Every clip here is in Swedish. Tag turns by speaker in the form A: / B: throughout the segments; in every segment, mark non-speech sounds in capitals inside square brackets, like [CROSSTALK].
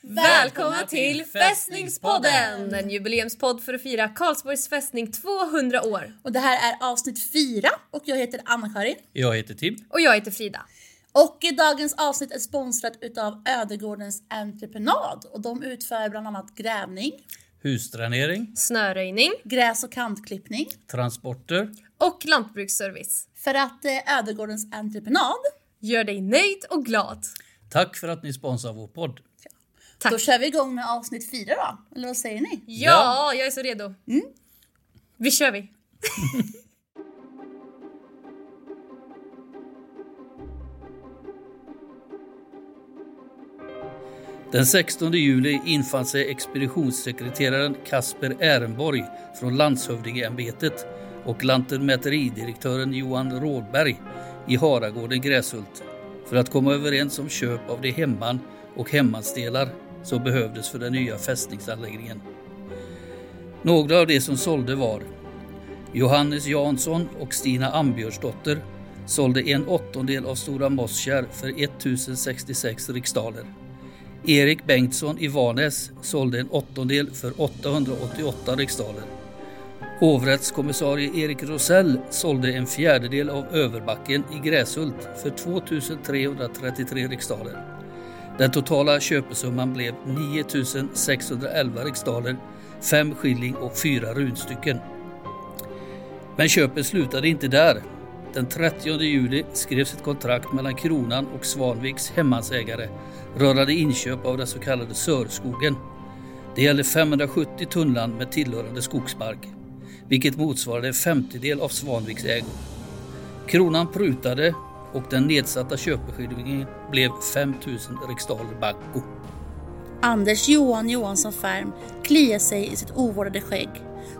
A: välkomna till Fästningspodden! En jubileumspodd för att fira Karlsborgs fästning 200 år.
B: Och det här är avsnitt fyra och jag heter Anna-Karin.
C: Jag heter Tim.
A: Och jag heter Frida.
B: Och i dagens avsnitt är sponsrat utav Ödegårdens entreprenad och de utför bland annat grävning,
C: Husdränering,
A: Snöröjning
B: gräs och kantklippning.
C: transporter.
A: och lantbruksservice.
B: För att eh, Ödegårdens entreprenad,
A: Gör dig nöjd och glad.
C: Tack för att ni sponsrar vår podd.
A: Tack.
B: då kör vi igång med avsnitt fyra då. Eller vad säger ni?
A: Ja, Mm. jag är så redo. Vi kör vi.
C: Den 16 juli infann sig expeditionssekreteraren Kasper Ehrenborg från landshövdingeämbetet och lantmäteridirektören Johan Rådberg i Haragården Gräshult för att komma överens om köp av de hemman och hemmansdelar som behövdes för den nya fästningsanläggningen. Några av de som sålde var Johannes Jansson och Stina Ambjörnsdotter sålde en åttondel av Stora Mosskär för 1066 riksdaler. Erik Bengtsson i Varnäs sålde en åttondel för 888 riksdaler. Hovrättskommissarie Erik Rosell sålde en fjärdedel av Överbacken i Gräshult för 2333 riksdaler. Den totala köpesumman blev 9611 riksdaler, 5 skilling och 4 runstycken. Men köpet slutade inte där. Den 30 juli skrevs ett kontrakt mellan Kronan och Svanviks hemmansägare rörande inköp av den så kallade Sörskogen. Det gällde 570 tunnland med tillhörande skogsmark, vilket motsvarade en femtedel av Svanviks ägor. Kronan prutade och den nedsatta köpeskillingen blev 5000 riksdaler banko.
B: Anders Johan Johansson Färm kliar sig i sitt ovårdade skägg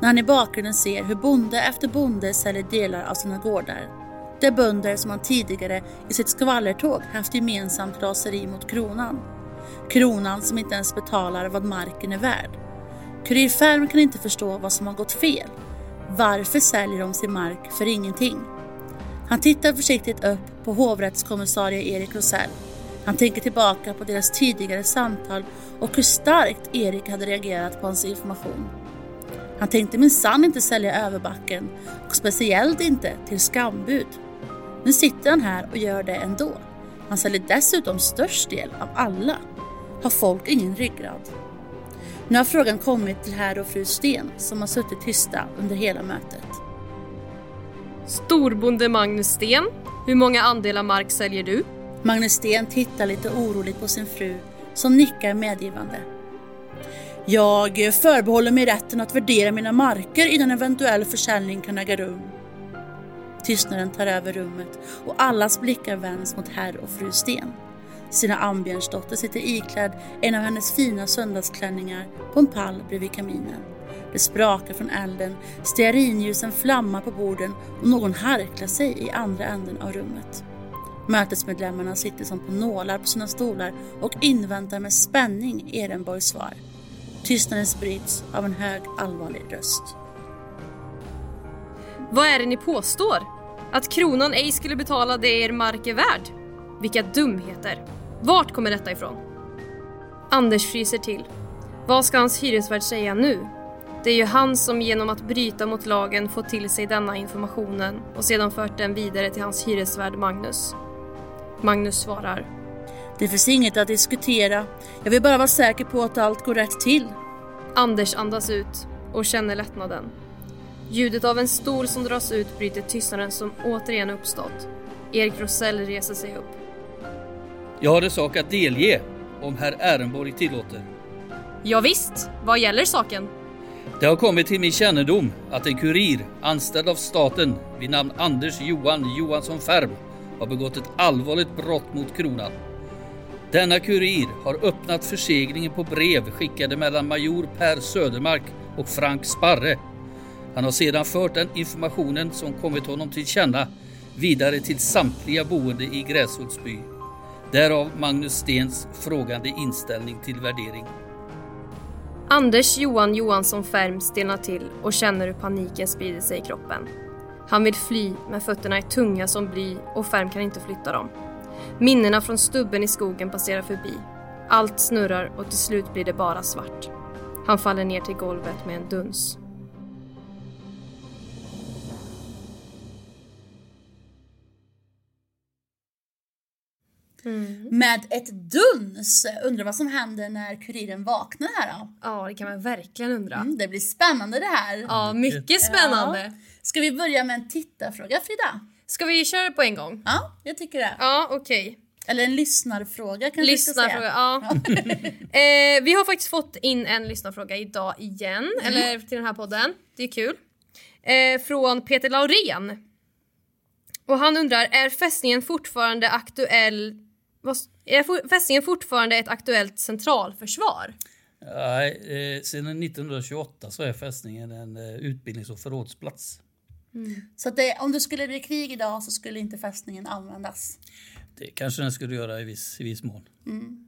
B: när han i bakgrunden ser hur bonde efter bonde säljer delar av sina gårdar. De bönder som han tidigare i sitt skvallertåg haft gemensamt raseri mot kronan. Kronan som inte ens betalar vad marken är värd. Kurir Färm kan inte förstå vad som har gått fel. Varför säljer de sin mark för ingenting? Han tittar försiktigt upp på hovrättskommissarie Erik Rosell. Han tänker tillbaka på deras tidigare samtal och hur starkt Erik hade reagerat på hans information. Han tänkte minsann inte sälja överbacken och speciellt inte till skambud. Nu sitter han här och gör det ändå. Han säljer dessutom störst del av alla. Har folk ingen ryggrad? Nu har frågan kommit till herr och fru Sten som har suttit tysta under hela mötet.
D: Storbonde Magnus Sten, hur många andelar mark säljer du?
B: Magnus Sten tittar lite oroligt på sin fru som nickar medgivande. Jag förbehåller mig rätten att värdera mina marker innan eventuell försäljning kan äga rum. Tystnaden tar över rummet och allas blickar vänds mot herr och fru Sten. Sina Ambjörnsdotter sitter iklädd en av hennes fina söndagsklänningar på en pall bredvid kaminen. Det sprakar från elden, stearinljusen flammar på borden och någon harklar sig i andra änden av rummet. Mötesmedlemmarna sitter som på nålar på sina stolar och inväntar med spänning Ehrenborgs svar. Tystnaden bryts av en hög allvarlig röst.
D: Vad är det ni påstår? Att kronan ej skulle betala det er mark är värd? Vilka dumheter! Vart kommer detta ifrån? Anders fryser till. Vad ska hans hyresvärd säga nu? Det är ju han som genom att bryta mot lagen fått till sig denna informationen och sedan fört den vidare till hans hyresvärd Magnus. Magnus svarar.
B: Det finns inget att diskutera. Jag vill bara vara säker på att allt går rätt till.
D: Anders andas ut och känner lättnaden. Ljudet av en stol som dras ut bryter tystnaden som återigen uppstått. Erik Rosell reser sig upp.
C: Jag har en sak att delge, om herr Ehrenborg tillåter.
D: Ja, visst, vad gäller saken?
C: Det har kommit till min kännedom att en kurir anställd av staten vid namn Anders Johan Johansson Färm har begått ett allvarligt brott mot kronan. Denna kurir har öppnat förseglingen på brev skickade mellan major Per Södermark och Frank Sparre. Han har sedan fört den informationen som kommit honom till känna vidare till samtliga boende i Gräshultsby. Därav Magnus Stens frågande inställning till värdering.
D: Anders Johan Johansson Färm stelnar till och känner hur paniken sprider sig i kroppen. Han vill fly, men fötterna är tunga som bly och Färm kan inte flytta dem. Minnena från stubben i skogen passerar förbi. Allt snurrar och till slut blir det bara svart. Han faller ner till golvet med en duns.
B: Med ett duns! Undrar vad som händer när kuriren vaknar här då?
A: Ja, det kan man verkligen undra.
B: Mm, det blir spännande det här.
A: Ja, mycket spännande.
B: Ska vi börja med en tittarfråga Frida?
A: Ska vi köra på en gång?
B: Ja, jag tycker det.
D: Ja, okej.
B: Eller en lyssnarfråga kanske vi ska säga.
D: Lyssnarfråga, ja.
B: [LAUGHS]
D: eh, vi har faktiskt fått in en lyssnarfråga idag igen,
B: Mm.
D: eller till den här podden. Det är kul. Eh, från Peter Laurén. Och han undrar, är fästningen fortfarande aktuell... Vad, s- är fo- fästningen fortfarande ett aktuellt centralförsvar?
C: Nej, eh, sedan 1928 så är fästningen en eh, utbildnings och förrådsplats.
B: Så att det, om det skulle bli krig idag så skulle inte fästningen användas.
C: Det kanske den skulle göra i viss, i viss mån.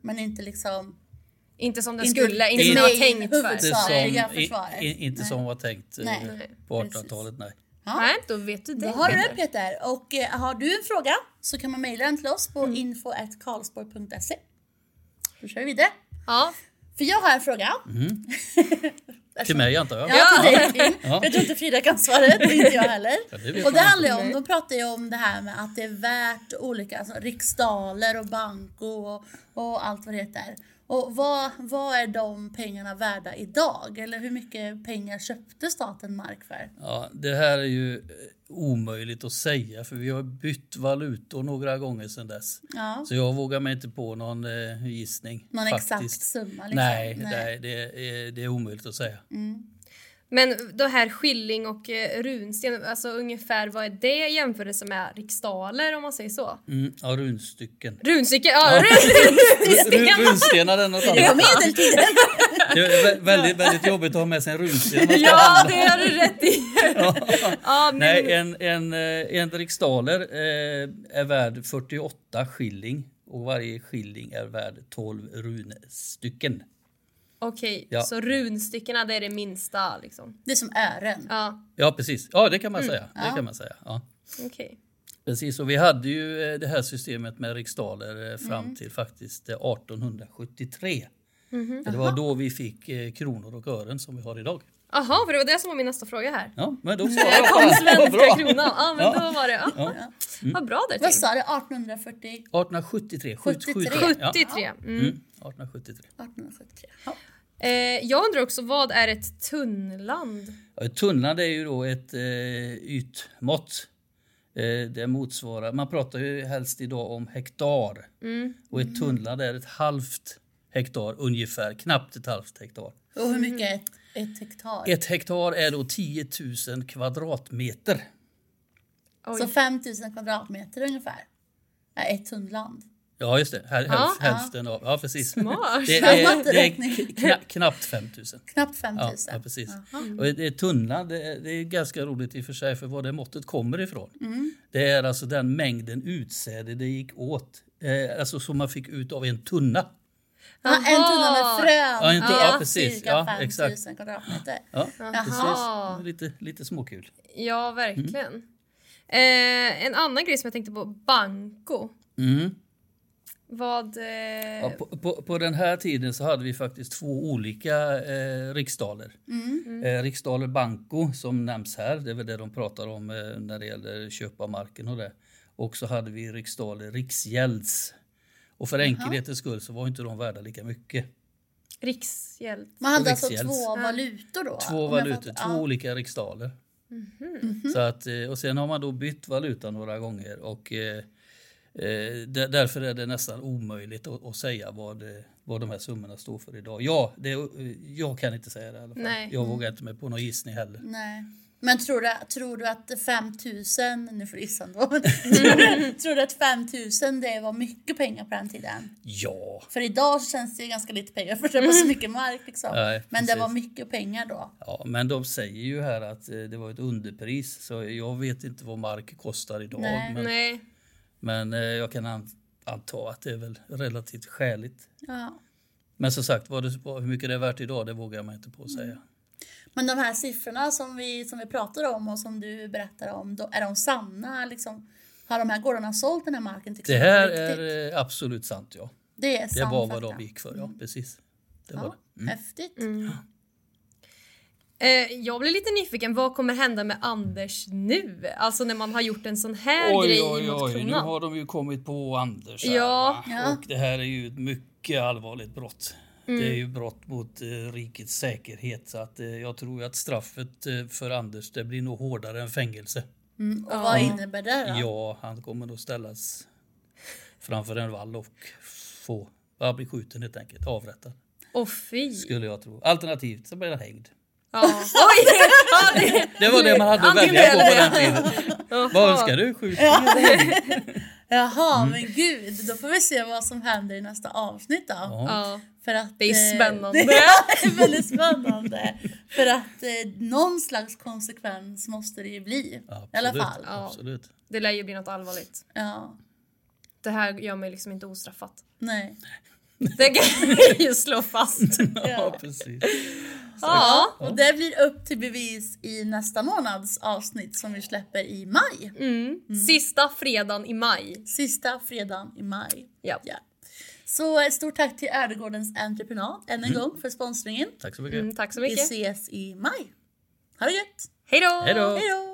B: Men inte liksom...
A: Inte som den
B: Inte-
A: skulle, inte som
C: inte
A: det var
B: i
A: tänkt
B: huvud.
A: för.
C: Inte som,
B: Försvarliga
C: i,
B: försvaret.
C: i, inte
B: Nej.
C: som var tänkt eh,
B: Nej.
C: på
B: Precis.
C: 1800-talet, nej.
A: Nej, då vet du
B: Då
A: det.
B: har du det Peter. Och eh, har du en fråga så kan man mejla den till oss på info.karlsborg.se. Då kör vi vidare.
D: Ja.
B: För jag har en fråga.
C: Till mig antar jag.
B: Ja, till dig, Tim. Jag tror inte Frida kan svaret, och inte jag heller.
C: Ja, det vet
B: och det
C: man
B: handlar ju om, de pratar ju om det här med att det är värt olika alltså, riksdaler och banko och, och allt vad det heter. Och vad, vad är de pengarna värda idag? Eller hur mycket pengar köpte staten mark för?
C: Ja, det här är ju eh, omöjligt att säga för vi har bytt valutor några gånger sedan dess.
B: Ja.
C: Så jag vågar mig inte på någon eh, gissning.
B: Någon exakt
C: faktiskt.
B: summa liksom?
C: Nej, nej. det, är, det är omöjligt att säga.
B: Mm.
D: Men det här skilling och eh, runsten, alltså ungefär vad är det i jämförelse med riksdaler om man säger så?
C: Mm, ja, runstycken.
D: Runstycke, ja,
C: Ru- Runstenar är något
B: Det var
C: annat.
B: medeltiden!
C: Det är vä- väldigt, väldigt jobbigt att ha med sig en runsten.
D: ja det har du rätt i! ja, men,
C: Nej, en, en, eh, en riksdaler eh, är värd 48 skilling och varje skilling är värd 12 runstycken.
D: Okej,
C: Ja.
D: så runstyckena det är det minsta liksom.
B: Det är som ören.
D: Ja,
C: Ja, precis. Ja, det kan man
D: Mm,
C: säga. Det kan man säga. Ja.
D: okej.
C: Precis, och vi hade ju eh, det här systemet med riksdaler eh, fram
D: Mm.
C: till faktiskt eh, 1873.
D: Mhm,
C: För det var då vi fick eh, kronor och ören som vi har idag.
D: Jaha, för det var det som var min nästa fråga Mm. här.
C: Ja, men då svarade jag på
D: Kom
C: den. Vad [LAUGHS]
D: svenska
C: bra.
D: kronan! Ja men då var det, ja. Mm. Vad bra där
B: Vad
D: Tim.
B: sa du? 1840?
C: 1873. 73.
D: 73.
C: 1873.
D: Mm.
C: Mm, 1873.
B: 1873. Ja.
D: Eh, jag undrar också, vad är ett tunnland?
C: Ja, ett Tunnland är ju då ett eh, ytmått. Eh, det motsvarar, man pratar ju helst idag om hektar. Och ett tunnland är ett halvt hektar ungefär, knappt ett halvt hektar.
B: Och hur mycket är ett, ett hektar?
C: Ett hektar är då 10 000 kvadratmeter.
B: Så 5000 kvadratmeter ungefär. Ja, ett tunnland.
C: Ja just det, här, hälf, hälften av. Ja precis.
D: Smart.
C: Det
B: Smart
C: är, det är
B: räkning.
C: kna, knappt 5 000.
B: Knappt 5000.
C: Ja, ja precis. Och ett, ett tunnland det är, det är ganska roligt i och för sig för var det måttet kommer ifrån. Det är alltså den mängden utsäde det gick åt, eh, alltså som man fick ut av en tunna.
B: Ja, en tunna
D: Jaha.
B: med frön.
C: Ja, en tunna- ja, precis.
B: Cirka
C: Ja,
B: 5
C: exakt.
B: 000 kvadratmeter.
C: Ja,
D: Jaha.
C: precis. Lite, lite småkul.
D: Ja, verkligen. Eh, en annan grej som jag tänkte på, banko.
C: Mm.
D: Vad... Eh,
C: Ja, på, på, på den här tiden så hade vi faktiskt två olika eh, riksdaler. Eh, riksdaler Banco som nämns här, det är väl det de pratar om eh, när det gäller köp av marken och det. Och så hade vi riksdaler Riksgälds. Och för enkelhetens skull så var inte de värda lika mycket.
D: Riksgäld.
B: Man hade alltså
C: Riksgälds.
B: två valutor då?
C: Två
B: om jag
C: valutor,
B: fattar- Mhm.
C: två olika riksdaler. Så att, eh, och sen har man då bytt valuta några gånger och eh, eh, där- därför är det nästan omöjligt att, att säga vad, eh, vad de här summorna står för idag. Ja, det, eh, jag kan inte säga det i alla fall.
D: Nej.
C: Jag
B: Mm.
C: vågar inte mig på någon gissning heller.
B: Ja. Nej. Men tror du, tror du att 5000, nu får du gissa ändå. tror, du- [LAUGHS] tror du att 5000 det var mycket pengar på den tiden?
C: Ja,
B: För idag så känns det ju ganska lite pengar för det var så mycket mark liksom.
C: Mm. Nej,
B: Men det
C: precis.
B: var mycket pengar då.
C: ja men de säger ju här att eh, det var ett underpris så jag vet inte vad mark kostar idag.
B: Nej.
C: Men,
D: Nej.
C: men eh, jag kan an- anta att det är väl relativt skäligt.
B: Ja.
C: Men som sagt, vad det, vad, hur mycket det är värt idag det vågar jag mig inte på att säga.
D: Mm.
B: Men de här siffrorna som vi, som vi pratar om och som du berättar om, då, är de sanna? Liksom, har de här gårdarna sålt den här marken till
C: Det här
B: kunder på riktigt?
C: är eh, absolut sant ja.
B: Det är
C: Det
B: sann
C: var vad
B: fakta.
C: de gick för, ja
D: Mm.
C: precis. Det var
B: Ja,
C: det. Mm.
B: häftigt.
D: Eh, jag blir lite nyfiken, vad kommer hända med Anders nu? Alltså när man har gjort en sån här grej mot
C: nu
D: kronan.
C: har de ju kommit på Anders här,
D: Ja.
C: va?
B: Ja.
C: Och det här är ju ett mycket allvarligt brott. Det
D: Mm.
C: är ju brott mot eh, rikets säkerhet så att eh, jag tror ju att straffet eh, för Anders det blir nog hårdare än fängelse.
B: Mm. Och vad innebär det [LAUGHS]
C: [LAUGHS]
B: då?
C: Ja, han kommer nog ställas framför en vall och få ja, bli skjuten helt enkelt, avrättad
D: Åh
C: [LAUGHS]
D: fy.
C: skulle jag tro. Alternativt så blir han hängd.
D: Ja. Oj! Ja, det...
C: Det var det man hade att
D: Antingen
C: välja på på
D: eller.
C: den tiden. Vad önskar du? Skjutning eller hängning?
B: Jaha,
C: Mm.
B: men gud. Då får vi se vad som händer i nästa avsnitt då.
C: Ja.
D: Ja.
B: För att,
D: Det är
B: eh, [LAUGHS]
D: spännande.
B: Det är väldigt spännande. För att eh, någon slags konsekvens måste det ju bli. I alla
C: Absolut,
B: fall.
D: Ja.
C: Absolut.
D: Det lär ju bli något allvarligt.
B: Ja.
D: Det här gör mig liksom
C: [LAUGHS]
D: inte ostraffat.
B: Nej.
D: Det kan jag ju slå fast.
C: [LAUGHS] Ja, precis.
D: Ja.
B: Och det blir upp till bevis i nästa månads avsnitt som vi släpper i maj.
D: Mm. Sista fredagen i maj.
B: Sista fredagen i maj.
D: Ja.
B: Ja. Så ett stort tack till Ödegårdens entreprenad än en gång för sponsringen.
C: Tack så mycket.
D: Mm, tack så
B: Vi
D: mycket.
B: ses i maj. Ha det gött!
D: Hej då!
C: Hej då!
B: Hej då!